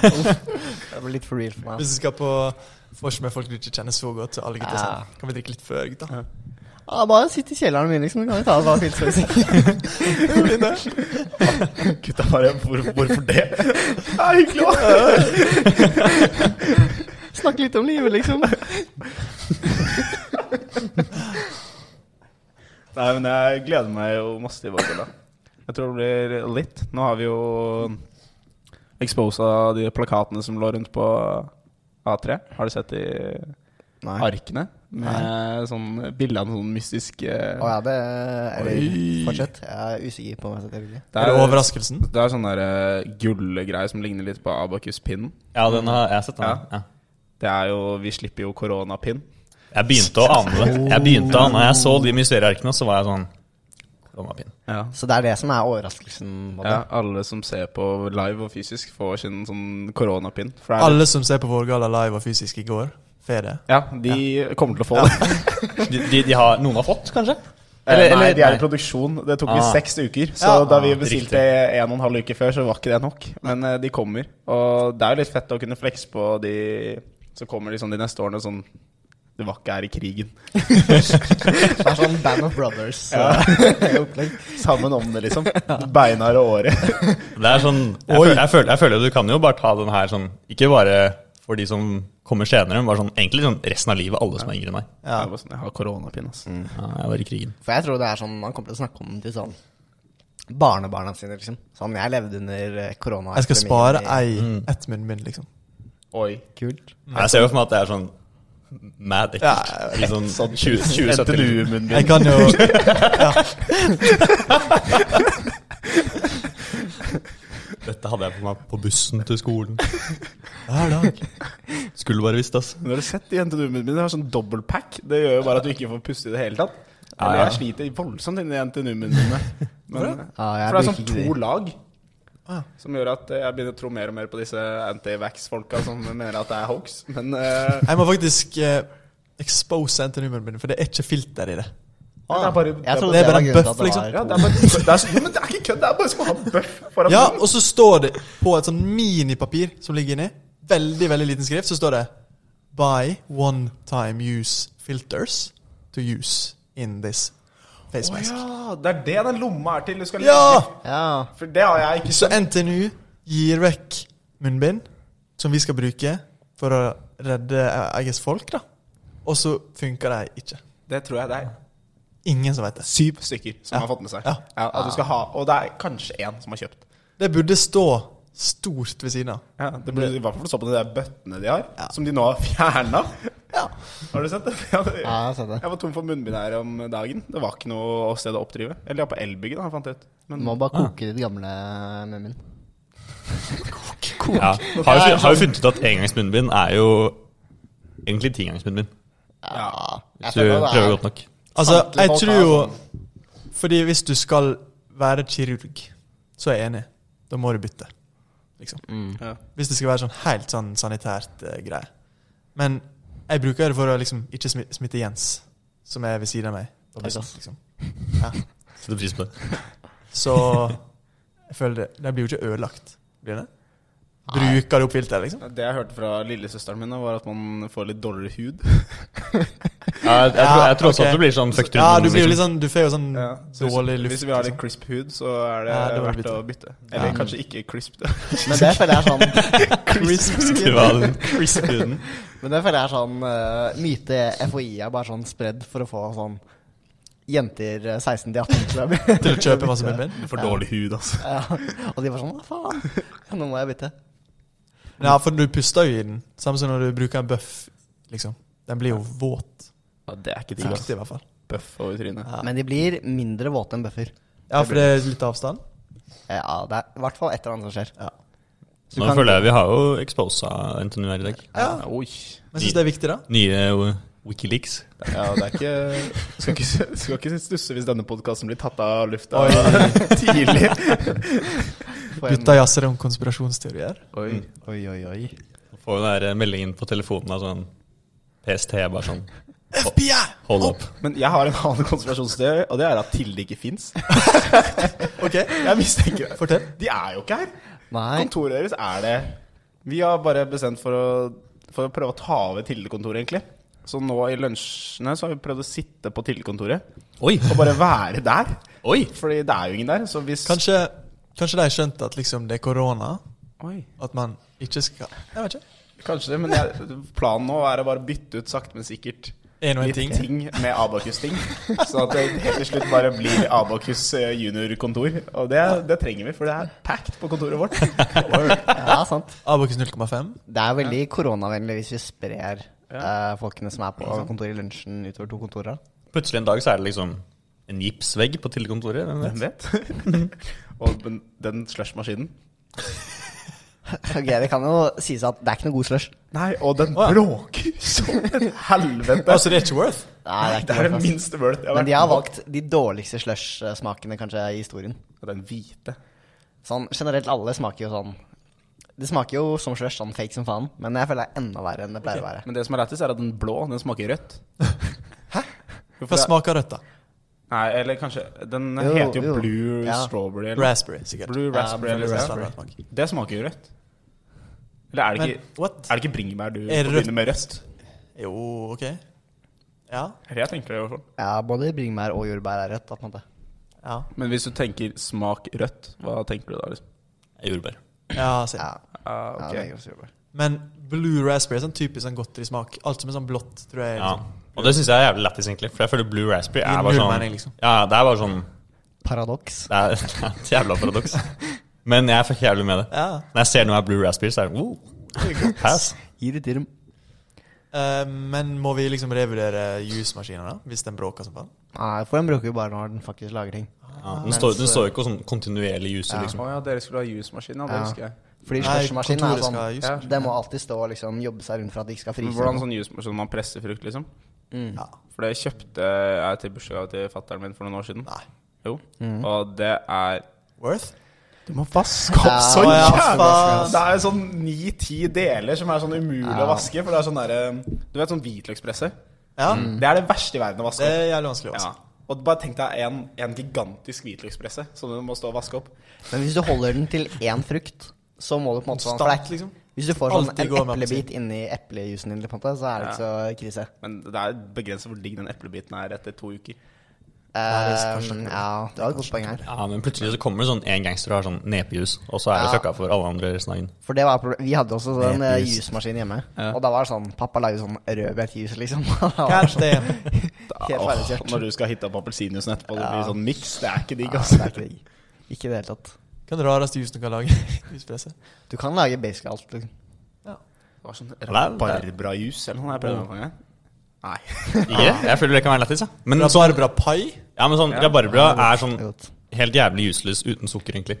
Det ble litt for real for meg. Hvis du skal på vors med folk du ikke kjenner så godt, så alle gutta er Ja. sånn Kan vi drikke litt før, gutta? Ja, bare sitt i kjelleren min, liksom. Du kan jo ta oss av pilsen. Gutta bare hvor, Hvorfor det? Det er hyggelig òg. Snakke litt om livet, liksom. Nei, men jeg gleder meg jo masse til Vårgårda. Jeg tror det blir litt. Nå har vi jo exposa de plakatene som lå rundt på A3. Har du sett de Nei. arkene? Med sånn bilde av noen mystisk eh, Å ja, det Eller Oi. fortsett. Jeg er usikker på om jeg setter det. det, Er det er, overraskelsen? det er sånn der eh, gullgreier som ligner litt på Abakus-pinnen. Ja, den har jeg har sett. den. Ja. Det er jo Vi slipper jo koronapinn. Jeg begynte å ane det. Jeg begynte å ane Jeg så de mysteriearkene, og så var jeg sånn Koronapinn. Ja. Så det er det som er overraskelsen? på det. Ja, alle som ser på live og fysisk, får sin sånn koronapinn. For det er- Alle som ser på Vårgalla live og fysisk i går, får det. Ja, de kommer til å få det. De, de, de har, noen har fått, kanskje? Eh, nei, de er i nei. produksjon. Det tok Ah. vi seks uker. Så Ja. da vi Ah, bestilte en og en halv uke før, så var ikke det nok. Men eh, de kommer. Og det er jo litt fett å kunne flekse på de Så kommer de sånn de neste årene sånn Det var ikke her i krigen. Det er sånn Band of Brothers. eh, opplegg. Sammen om det, liksom. Beinar og året. Det er sånn jeg, føler, jeg, føler, jeg føler du kan jo bare ta den her sånn Ikke bare for de som kommer senere, men bare sånn egentlig sånn resten av livet, alle som er yngre enn meg. Ja. Jeg, var sånn, jeg har koronapinn, ass. Ja, jeg var i krigen. For jeg tror det er sånn man kommer til å snakke om den til sånn barnebarna sine, liksom. Sånn, jeg levde under eh, korona. Jeg skal spare ei, ett munnbind, liksom. Oi. Kult. Jeg ser jo for meg at det er sånn mad Ja, ekkelt. I sånn 20 2070. NTNU-munnbind. Jeg kan jo Dette hadde jeg på meg på bussen til skolen. Hver dag. Skulle bare visst, altså. ass. Men Har du sett de NTNU-munnbindene? De har sånn dobbeltpack. Det gjør jo bare at du ikke får puste i det hele tatt. Ja, Eller ja. Jeg sliter voldsomt inni NTNU-munnbindene. Men- Ja, jeg For det er bruker sånn ikke to de. lag. Som gjør at eh, jeg begynner å tro mer og mer på disse anti-vax-folka som mener at det er hoax. Men eh, Jeg må faktisk eh, expose NTNU-munnbindet, for det er ikke filter i det. det er bare Jeg trodde Det det, er bare var en grunnen til bøff, at det liksom. var ja, det er bare det er, så- jo, Men det er ikke kødd! Det er bare som å ha bøff foran Ja, munnen. og så står det på et sånn minipapir som ligger inni, veldig, veldig liten skrift, så står det buy one-time use filters to use in this face mask. ja, det er det den lomma er til. Du skal ja! Ja. For det har jeg ikke Så NTNU gir vekk munnbind, som vi skal bruke for å redde eh, eget folk, da. Og så funker de ikke. Det tror jeg det er Ingen som vet det. syv stykker som har fått med seg. Ja. at du skal ha, og det er kanskje én som har kjøpt. Det burde stå stort ved siden av. det burde i hvert fall stå på de der bøttene de har, som de nå har fjerna. Har du sett det? Ja, det- Ja, jeg har sett det. Jeg var tom for munnbind her om dagen. Det var ikke noe sted å oppdrive. Eller ja, på Elbyggen, har jeg fant ut. Du Men må bare koke ditt gamle eh, munnbind. Ja. Har, jo, fun- har jo funnet ut at engangsmunnbind er jo egentlig tigangsmunnbind. ja. Jeg Hvis du føler det er- prøver godt nok. Altså, Samtlige jeg folk tror er jo sånn. Fordi hvis du skal være kirurg, så er jeg enig. Da må du bytte, liksom. Ja. Hvis det skal være sånn helt sånn sanitært eh, greie. Men jeg bruker det for å liksom ikke smi- smitte Jens, som er ved siden av meg. Og blir Takk, sånn, ass. Liksom. Setter pris på det. Så jeg føler det De blir jo ikke ødelagt, blir det? Bruker du opp filteret, liksom? Det jeg hørte fra lillesøsteren min, var at man får litt dårligere hud. Mm. Ja, jeg, jeg, tror- jeg tror også ok. at du blir sånn fucked Ja, du blir jo liksom. litt sånn Du får jo sånn Så hvis, dårlig luft. hvis vi har litt liksom. crisp hud, så er det, Ja, det var verdt bytte. å bytte. Eller kanskje ikke crisp. Det. Men det føler jeg er sånn Du har den crisp huden. Men det føler jeg er sånn eh, myte FHI er bare sånn spredd for å få sånn jenter eh, 16 til 18 til å bli liksom, Til å kjøpe masse munnbind? For dårlig hud, altså. ja. Og de var sånn Hva faen? Ja, Nå må jeg bytte. Ja, for du puster jo i den. Samme som når du bruker en bøff, liksom. Den blir jo våt. Ja, det er ikke digg. Sakte, ass. i hvert fall. Bøff over trynet. Men de blir mindre våte enn bøffer. Ja, for det er litt avstand. Ja, det er i hvert fall et eller annet som skjer. Ja. Så du Nå kan- føler jeg vi har jo exposa NTNU her i dag. Ja. Oi. Men jeg syns det er viktig, da. Nye eh, Wikileaks. Ja, det er ikke Skal ikke, skal ikke stusse hvis denne podkasten blir tatt av lufta Oi. tidlig. får en- Gutta jazzer om konspirasjonsteorier. Oi. Oi, oi, oi. Får jo den der eh, meldingen på telefonen av sånn PST bare sånn FBI! Hold opp. Men jeg har en annen konspirasjonsteori, og det er at Tilde ikke fins. Ok, Jeg mistenker det. fortell. De er jo ikke her. Nei. Kontoret deres er det Vi har bare bestemt for å, for å prøve å ta over Tilde-kontoret, egentlig. Så nå i lunsjene så har vi prøvd å sitte på Tilde-kontoret Oi! og bare være der. Oi! Fordi det er jo ingen der. Så hvis Kanskje, kanskje de har skjønt at liksom det er korona? Oi. At man ikke skal Jeg vet ikke. Kanskje det, men jeg, planen nå er å bare bytte ut sakte, men sikkert En og en litt ting. ting, med Abakus-ting. Så at det helt til slutt bare blir Abakus eh, junior-kontor. Og det, det trenger vi, for det er packed på kontoret vårt. Ja, sant. Abokus 0,5. Det er veldig koronavennlig hvis vi sprer eh, folkene som er på kontoret i lunsjen, utover to kontorer. Plutselig en dag så er det liksom en gipsvegg på Tildekontoret. Hvem vet? Hvem vet? Og den, den slushmaskinen. Ok, Det kan jo sies at det er ikke noe god slush. Nei, og den Å, ja. bråker som et helvete. Altså, det er ikke worth? Nei, Det godt, er det ass. minste worth jeg har Men de vært har på. valgt de dårligste slush-smakene kanskje i historien. Den hvite. Sånn, Generelt alle smaker jo sånn Det smaker jo som slush, sånn fake som faen, men jeg føler det er enda verre enn det pleier å være. Men det som er lættis, er at den blå, den smaker rødt. Hva smaker rødt, da? Nei, eller kanskje Den Jo, heter jo, jo. blue Ja. strawberry. Eller? Raspberry, sikkert. Blue raspberry. Ja, eller blue sånn. raspberry. Standardsmak. Det smaker jo rødt. Eller er det Men ikke, what? er det ikke bringebær du Er det forbinder med Eh, rødt? Jo, OK. Ja. Jeg tenker det i hvert fall. Ja, både bringebær og jordbær er rødt. da, på en måte. Ja. Men hvis du tenker smak rødt, hva tenker du da? liksom? Jordbær. ja se. Ja, ja, Ah, ok. det er også jordbær. Men blue raspberry er sånn typisk sånn godterismak. Alt som er sånn blått, tror jeg. Ja. Liksom. Og det syns jeg er jævlig lættis, egentlig. For jeg føler Blue Raspberry Gir er bare null sånn mening, liksom. Ja, det er bare sånn Paradoks. Det er, det er et jævla paradoks. Men jeg fucker jævlig med det. Ja. Når jeg ser noe av Blue Raspberry, så er det wow, pass. Gir det til dem. Eh, men må vi liksom revurdere jusmaskinen, da? Hvis den bråker som faen? Nei, for den bruker jo bare når den faktisk lager ting. Ja, den, står, den står jo ikke og sånn kontinuerlig juser, liksom. Å ja, dere skulle ha jusmaskin, ja. Det Ja. husker jeg. Fordi Nei, slushmaskinen er kontoret sånn skal ha ja. jus. Det må alltid stå og liksom, jobbe seg rundt for at det ikke skal Men fryse. hvordan sånn jusmaskin man presser frukt, liksom? Ja. For det kjøpte jeg til bursdagsgave til fatteren min for noen år siden. Nei. Jo. Og det er Worth? Mm. Du må vaske opp Ja, så ja, jævlig! faen. Det er sånn ni-ti deler som er sånn umulig å vaske. For det er sånn derre Du vet sånn hvitløkspresse? Ja. Det er det verste i verden å vaske Det opp. er jævlig vanskelig. altså. Også. Ja. Og bare tenk deg en, en gigantisk hvitløkspresse som du må stå og vaske opp. Men hvis du holder den til én frukt, så må du på en måte sånn for det er Konstant, liksom. Hvis du får sånn Alltid en gå med eplebit inni eplejusen din, på en måte, så er det ikke så krise. Men det er begrenset hvor digg den eplebiten er etter to det er uker. kanskje Um, akkurat det. ja, det var et godt poeng her. Ja, men plutselig så kommer det sånn en gangster og har sånn nepejus, og så er det Ja. fucka for alle andre resten av dagen. For det var problemet. Vi hadde også sånn eh, Eplejus. jusmaskin hjemme. Ja. Og da var det sånn Pappa lagde sånn rødbetjus, liksom. Det var God sånn damn. Helt Åh, ferdigkjørt. når du skal hitte opp appelsinjuicen etterpå, det blir Ja. sånn miks. Det er ikke digg, Ja, altså. det er ikke digg. Ikke i det hele tatt. Hva er det rareste jusen du kan lage? Juspresse. Du kan lage basically alt. Liksom. Det var sånn er- rabarbrajus eller noe. Jeg prøvde meg på en gang. Nei. Ikke? Jeg føler det kan være lættis, ja. Men, sånn- så, Rabarbra pai? ja, men sånn rabarbra er sånn Det er godt. helt jævlig useless uten sukker, egentlig.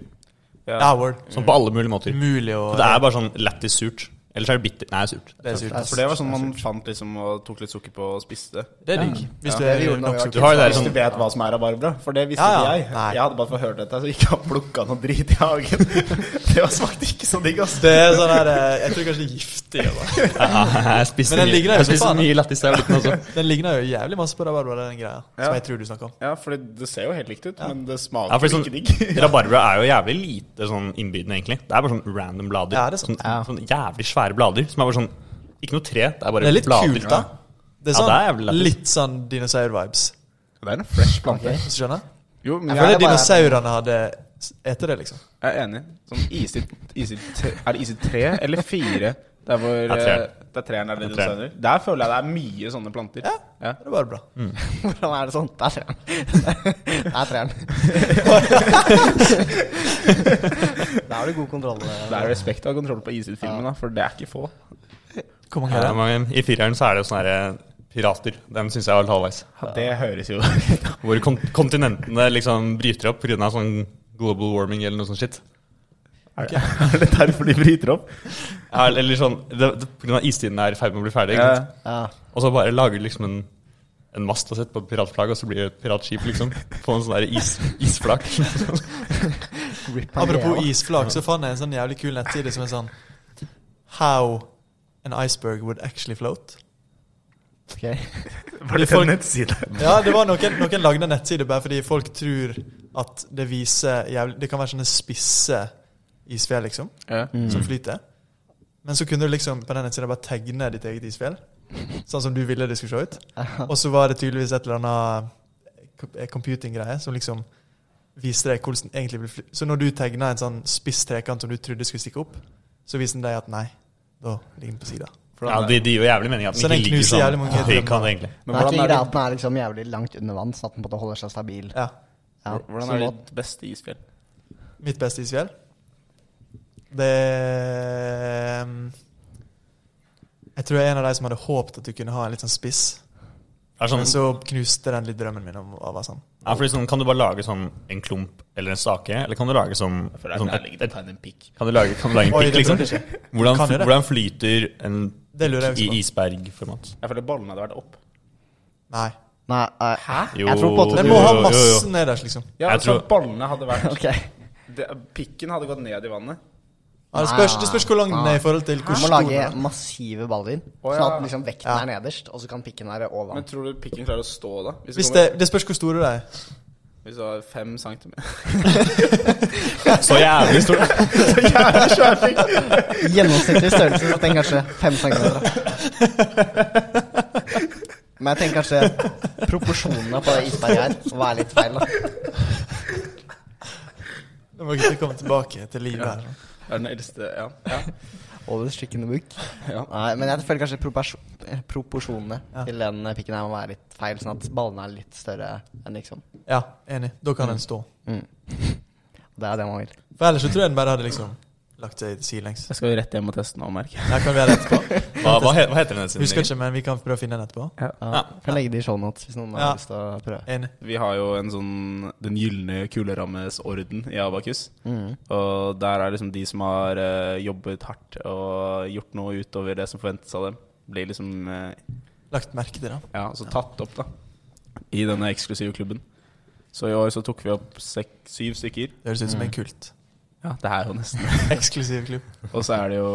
Ja, word. Sånn på alle mulige måter. Umulig å Det er bare sånn lættis surt. Ellers er det bitter. Nei, surt. Det er surt. For det var sånn man fant liksom og tok litt sukker på og spiste. Det er digg. Hvis Ja, du det er gjorde vi da vi nok var sukker. Du har jo det der Hvis du sånn vet hva som er rabarbra, for det visste Ja, ja. ikke jeg. Nei. Jeg hadde bare forhørt dette, så ikke han plukka noe drit i hagen. det var smakte ikke så digg, altså. ass. Det er sånn her eh, Jeg tror kanskje det er giftig. altså. Eller. ja, Jeg spiste Men den mye, ligger der jeg jo spiste faen, da. mye lættis da jeg var liten også. Den ligner jo jævlig masse på rabarbra, den greia. Ja. Som jeg tror du snakker om. Ja, for det, det ser jo helt likt ut, men det Ja, smaker fordi sånn, ikke digg. Rabarbra er jo jævlig lite sånn innbydende, egentlig. Det er bare sånn random blader. Ja, det er sant. Sånn, sånn jævlig svære blader som er bare sånn Ikke noe tre, det er bare Det er litt blader. kult, da. Det er Ja, sånn, det er jævlig lættis. litt sånn dinosaur-vibes. Det er en fresh plante. Hvis du skjønner? Jo, men Jeg jeg, føler er, bare, dinosaurene hadde spist det, liksom. jeg er enig. Sånn isid, isid, er det isid tre eller fire? Det er hvor Det er treeren. eh, Det er treeren eller Det er treeren. designer. Der føler jeg det er mye sånne planter. Ja. Ja. Det var bra. Hvordan er det sånn? Der ser han. Der ser han. Da har du god kontroll. eh. Det er respekt å ha kontroll på isid-filmen, da, for det er ikke få. Hvor mange Ja, er det det? er mange- I fireren så er det jo sånne her eh, pirater. Den syns jeg var litt halvveis. Det høres jo Hvor kon kontinentene liksom bryter opp pga. sånn global warming eller noe sånt shit. Er det derfor de bryter opp? Ja, eller- eller sånn det- det- Pga. istiden er i ferd med å bli ferdig. ikke sant? Eh, Ja. Og så bare lager de liksom en, en mast og setter på et piratflagg, og så blir det et piratskip, liksom. På en sånn der is, isflak. Rip han Apropos ned, da. isflak, så fant jeg en sånn jævlig kul nettside som er sånn How an iceberg would actually float. Ok. Var det Folk- en nettside? Ja, det var noen, noen lagde en nettside bare fordi folk tror at det viser jævlig Det kan være sånne spisse isfjell, liksom, Ja. som flyter. Men så kunne du liksom på den nettsida bare tegne ditt eget isfjell, sånn som du ville det skulle se ut. Og så var det tydeligvis et eller annet kom- eh, computing-greie som liksom viste deg hvordan den egentlig ville fly. Så når du tegna en sånn spiss trekant som du trodde skulle stikke opp, så viste den deg at nei, da ligger den på sida. Ja, det det gir jo jævlig mening at Så den den ikke ligger knuser jævlig sånn mange høy drømmer. kan det egentlig. Men Men det er hvordan ikke greia er det, at den er liksom jævlig langt under vann, sånn at den på en måte holder seg stabil. Ja. Ja. hvordan så er må- ditt beste isfjell? Mitt beste isfjell? Det um, Jeg tror jeg er en av de som hadde håpet at du kunne ha en litt sånn spiss. Det er Men sånn, så knuste den litt drømmen min om å være sånn. ja, fordi sånn, kan du bare lage sånn en klump eller en stake, eller kan du lage sånn, For det er sånn nærliggende et, å et, tegne en pikk. kan, du lage, kan du lage en Oi, pikk, det liksom? klarte jeg ikke. Hvordan, Kan jeg det? hvordan flyter en Det lurer jeg i også på. isbergformat? Jeg føler ballen hadde vært opp. Nei. Nei, eh, Jo. Jeg tror på at Den Den du må ha jo, jo, jo. massen nederst, liksom. Ja, Jeg så tror- ballene hadde vært Ok. det, Pikken hadde gått ned i vannet. Ja, det, spørs, det spørs hvor lang den er i forhold til Ah, Du hvor må stor den lage er. massive baller, Å, sånn ja. at liksom vekten er nederst, og så kan pikken være over Men vann. tror du pikken klarer å stå da? Hvis, Hvis det, kommer, det spørs hvor store de er. hvis det var fem centimeter Så jævlig stor. Gjennomsnittlig størrelse, så tenk kanskje 5 cm. Men jeg tenker kanskje proporsjonene på det isberget her var litt feil. da Nå må ikke komme tilbake til livet her. Det er den eldste Ja. ja. Oldest chick in the book. Ja. Nei, men jeg føler kanskje propers eh, proporsjonene til den eh, pikken her må være litt feil, sånn at ballene er litt større enn liksom. Ja, enig. Da kan Mm. den stå. Det er det man vil. For ellers så tror jeg den bare hadde liksom lagt seg sidelengs. Jeg skal jo rett hjem og teste nå, merker jeg. Der kan vi ha det etterpå. Hva, hva, he- hva heter den nettsiden? Husker ikke, men vi kan prøve å finne den etterpå. Ja. Kan legge det i shownotes hvis noen Ja. har lyst til å prøve. Enig. Vi har jo en sånn Den gylne kulerammes orden i Abakus. Og der er liksom de som har eh, jobbet hardt og gjort noe utover det som forventes av dem, blir liksom eh, Lagt merke til den. ja, altså tatt opp da i denne eksklusive klubben. Så i år så tok vi opp sek, syv stykker. Det høres ut Mm. som en kult. Ja, det er jo nesten Eksklusiv klubb. Og så er det jo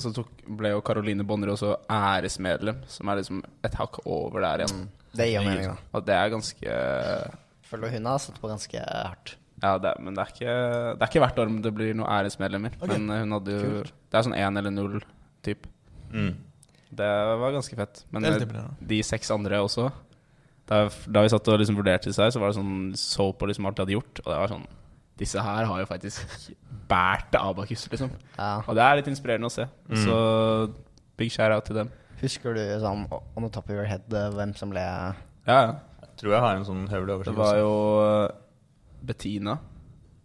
Så tok, ble jo Caroline Bonner også æresmedlem, som er liksom et hakk over der igjen. Det gir mening, da. Og det er ganske Føler du hun har stått på ganske hardt. Ja, det, er- men det er, ikke, det er ikke hvert år det blir noen æresmedlemmer. Ok. Men eh, hun hadde jo Kult. Det er sånn én eller null type. Mm. Det var ganske fett. Men Det er litt eh, imponerende. de seks andre også Da, da vi satt og liksom vurderte disse her, så var det sånn så på liksom alt de hadde gjort. Og det var sånn Disse her har jo faktisk bært Abakus, liksom. Ja. Og det er litt inspirerende å se. Mm. Så big share out til dem. Husker du sånn on the top of your head eh, hvem som ble Ja, ja. Jeg tror jeg har en sånn høvelig Det oversikt. var også. jo eh, Bettina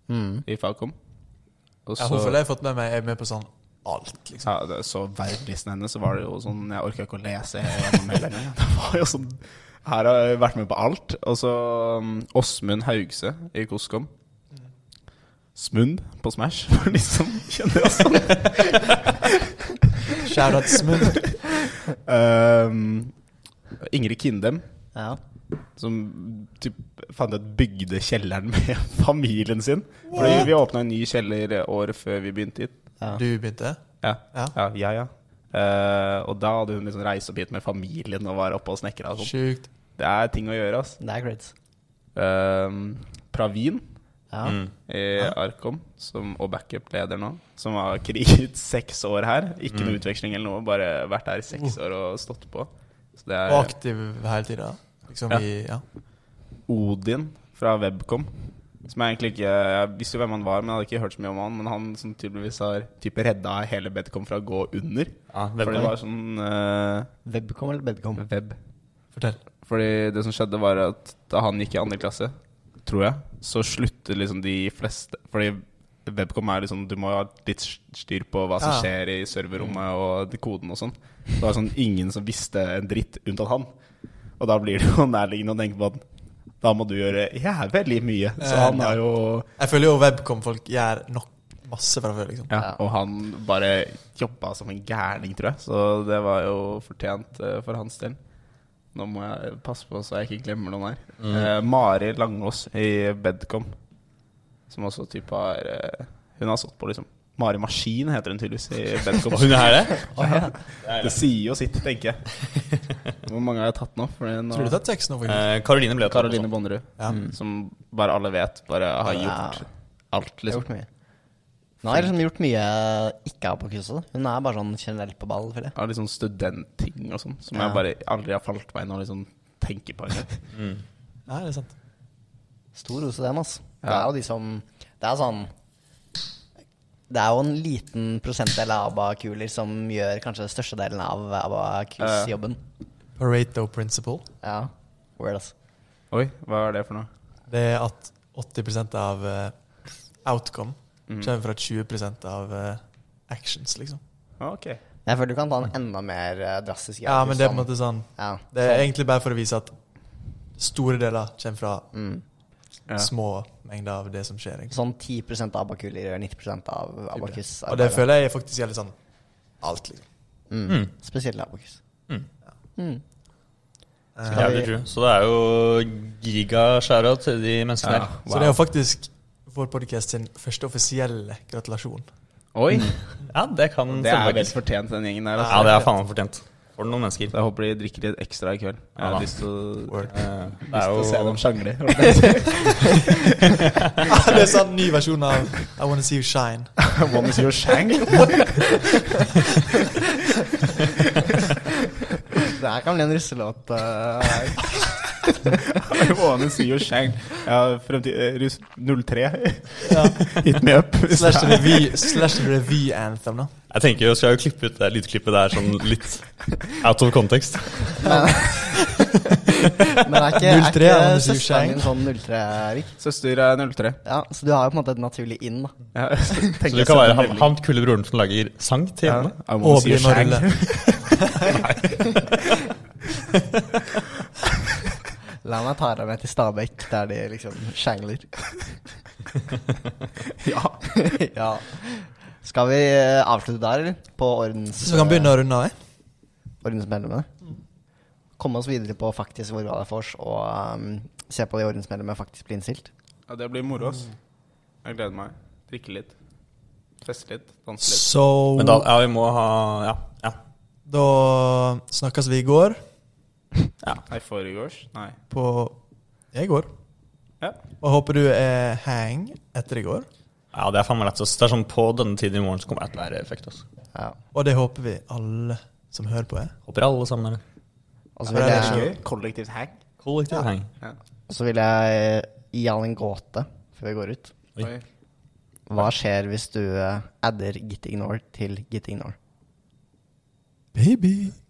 mm. i Falcom. Og Ja, hun føler jeg har fått med meg er med på sånn alt, liksom. Ja, det, så verdlisten hennes så var det jo sånn Jeg orka ikke å lese gjennom hele engang. Det var jo sånn Her har jeg vært med på alt. Og så um, Åsmund Haugse i Koskom. Smund på Smash, for de som kjenner oss sånn. Shout out Smooth. Um, Ingrid Kindem, Ja. som typ, fant ut bygde kjelleren med familien sin. Fordi vi åpna en ny kjeller året før vi begynte hit. Ja. Du begynte? Ja. Ja. ja, ja, ja. Eh, og da hadde hun liksom reist opp hit med familien og var oppe og snekra. og sånn. Sjukt. Det er ting å gjøre, ass. Det er creds. Ehm, Pravin Ja. Mm. i Arkom, som, og backup-leder nå, som har kriget seks år her. Ikke noe utveksling eller noe, bare vært her i seks år og stått på. Så det Og er aktiv hele tida. Liksom Ja. i Ja. Odin fra Webcom. Som jeg egentlig ikke Jeg visste jo hvem han var, men jeg hadde ikke hørt så mye om han. Men han som tydeligvis har typ redda hele Bedcom fra å gå under. Ja, For det Webcom. var sånn eh, Webcom eller Bedcom? web. Fortell. Fordi det som skjedde var at da han gikk i andre klasse, tror jeg, så sluttet liksom de fleste Fordi Webcom er liksom Du må ha litt styr på hva som Ja. skjer i serverrommet og koden og sånn. Så det var sånn ingen som visste en dritt unntatt han. Og da blir det jo nærliggende å tenke på at da må du gjøre jævlig mye. Så Eh, han ja. er jo Jeg føler jo Webcom-folk gjør nok masse fra før, liksom. ja, Og han bare jobba som en gærning, tror jeg. Så det var jo fortjent eh, for hans del. Nå må jeg passe på så jeg ikke glemmer noen her. Eh, Mari Langås i Bedcom, som også typ har eh, Hun har stått på, liksom. Mari Maskin heter hun tydeligvis i Bedcom. Hun er det? Det sier jo sitt, tenker jeg. Hvor mange har jeg tatt nå? Fordi nå- Tror du det er tekst nå, faktisk? Eh, Karoline ble tatt Karoline Bonnerud, Ja. som bare alle vet, bare har Ja. gjort alt, Jeg har liksom. gjort mye. Hun har liksom gjort mye ikke av på kurset. Hun er bare sånn generelt på ball, føler jeg. Av litt sånn studentting og sånn, som Ja. jeg bare aldri har falt meg inn og liksom tenker på engang. Nei, det er sant. Stor ros til dem, altså. Det Ja. er jo de som Det er sånn Det er jo en liten prosentdel av ABBA-kuler som gjør kanskje den største delen av ABBA-kursjobben. Pareto principle. Ja. Weird, altså. Oi, hva er det for noe? Det er at 80 av eh, outcome kommer fra 20 av eh, actions, liksom. Ah, Ok. Men Jeg føler du kan ta en enda mer eh, drastisk Ja, men det er på en sånn- måte sånn ja. Det er egentlig bare for å vise at store deler kommer fra Mm. Ja. små mengder av det som skjer. Egentlig. Sånn 10 av ABBA-kuler gjør 90 av abakus Og det føler jeg faktisk gjelder sånn alt, liksom. mm. Spesielt abakus. Jævlig true. Så det er jo giga-skjæra til de menneskene Ja. her. Så det er jo faktisk vår podcast sin første offisielle gratulasjon. Oi! Ja, det kan Det stemme, er faktisk. vel fortjent, den gjengen der. Ja, Altså. det er faen meg fortjent. For noen mennesker. Jeg håper de drikker litt ekstra i kveld. Jeg Ja, da. har lyst til å, Word. Eh, Det lyst er til å se jo dem sjangle. det er sånn ny versjon av I Wanna See You Shine. One is your shang. Det her kan bli en russelåt. eh. One is your shang. Ja, fremtid, eh, rus 03. Hit me up. hvis Slash det er- revy, slash revy anthem, da. Jeg tenker jo, skal jeg jo klippe ut det lydklippet der sånn litt out of context. men det er ikke, er 03 er ikke Anders søsteren Hussein. din sånn 03-vik. Søster er 03. Ja, så du har jo på en måte et naturlig inn, da. Ja, tenker Så du jeg selv kan være om han, veldig- han kule broren som lager sang til Ja, henne. I wanna Og see your blir med å shang. rulle. La meg ta deg med til Stabekk, der de liksom shangler. ja. ja. Skal vi eh, avslutte der, eller? På ordens, Så vi kan begynne å runde av. eh? ordensmedlemmene? Komme oss videre på faktisk hvor glad jeg er for oss, og ehm, se på de ordensmedlemmene faktisk bli innstilt. Ja, det blir moro, ass. Jeg gleder meg. Drikke litt. Feste litt. Danse litt. Så Men da, ja, vi må ha Ja. ja. da snakkes vi i går Nei, foregårs? Nei. på Jeg går. Ja. Og håper du er hang etter i går. Ja, det er faen meg lett. ass. Det er sånn på denne tiden i morgen så kommer det til å være effekt. ass. Ja. Og det håper vi alle som hører på, eh. er. Håper alle sammen er det. Og så Ja, vil det er jeg, Gøy. Kollektivt hang. Kollektiv heng. og så vil jeg gi han en gåte før vi går ut. Oi. Oi. Hva skjer hvis du eh, adder gitignore til gitignore? Baby.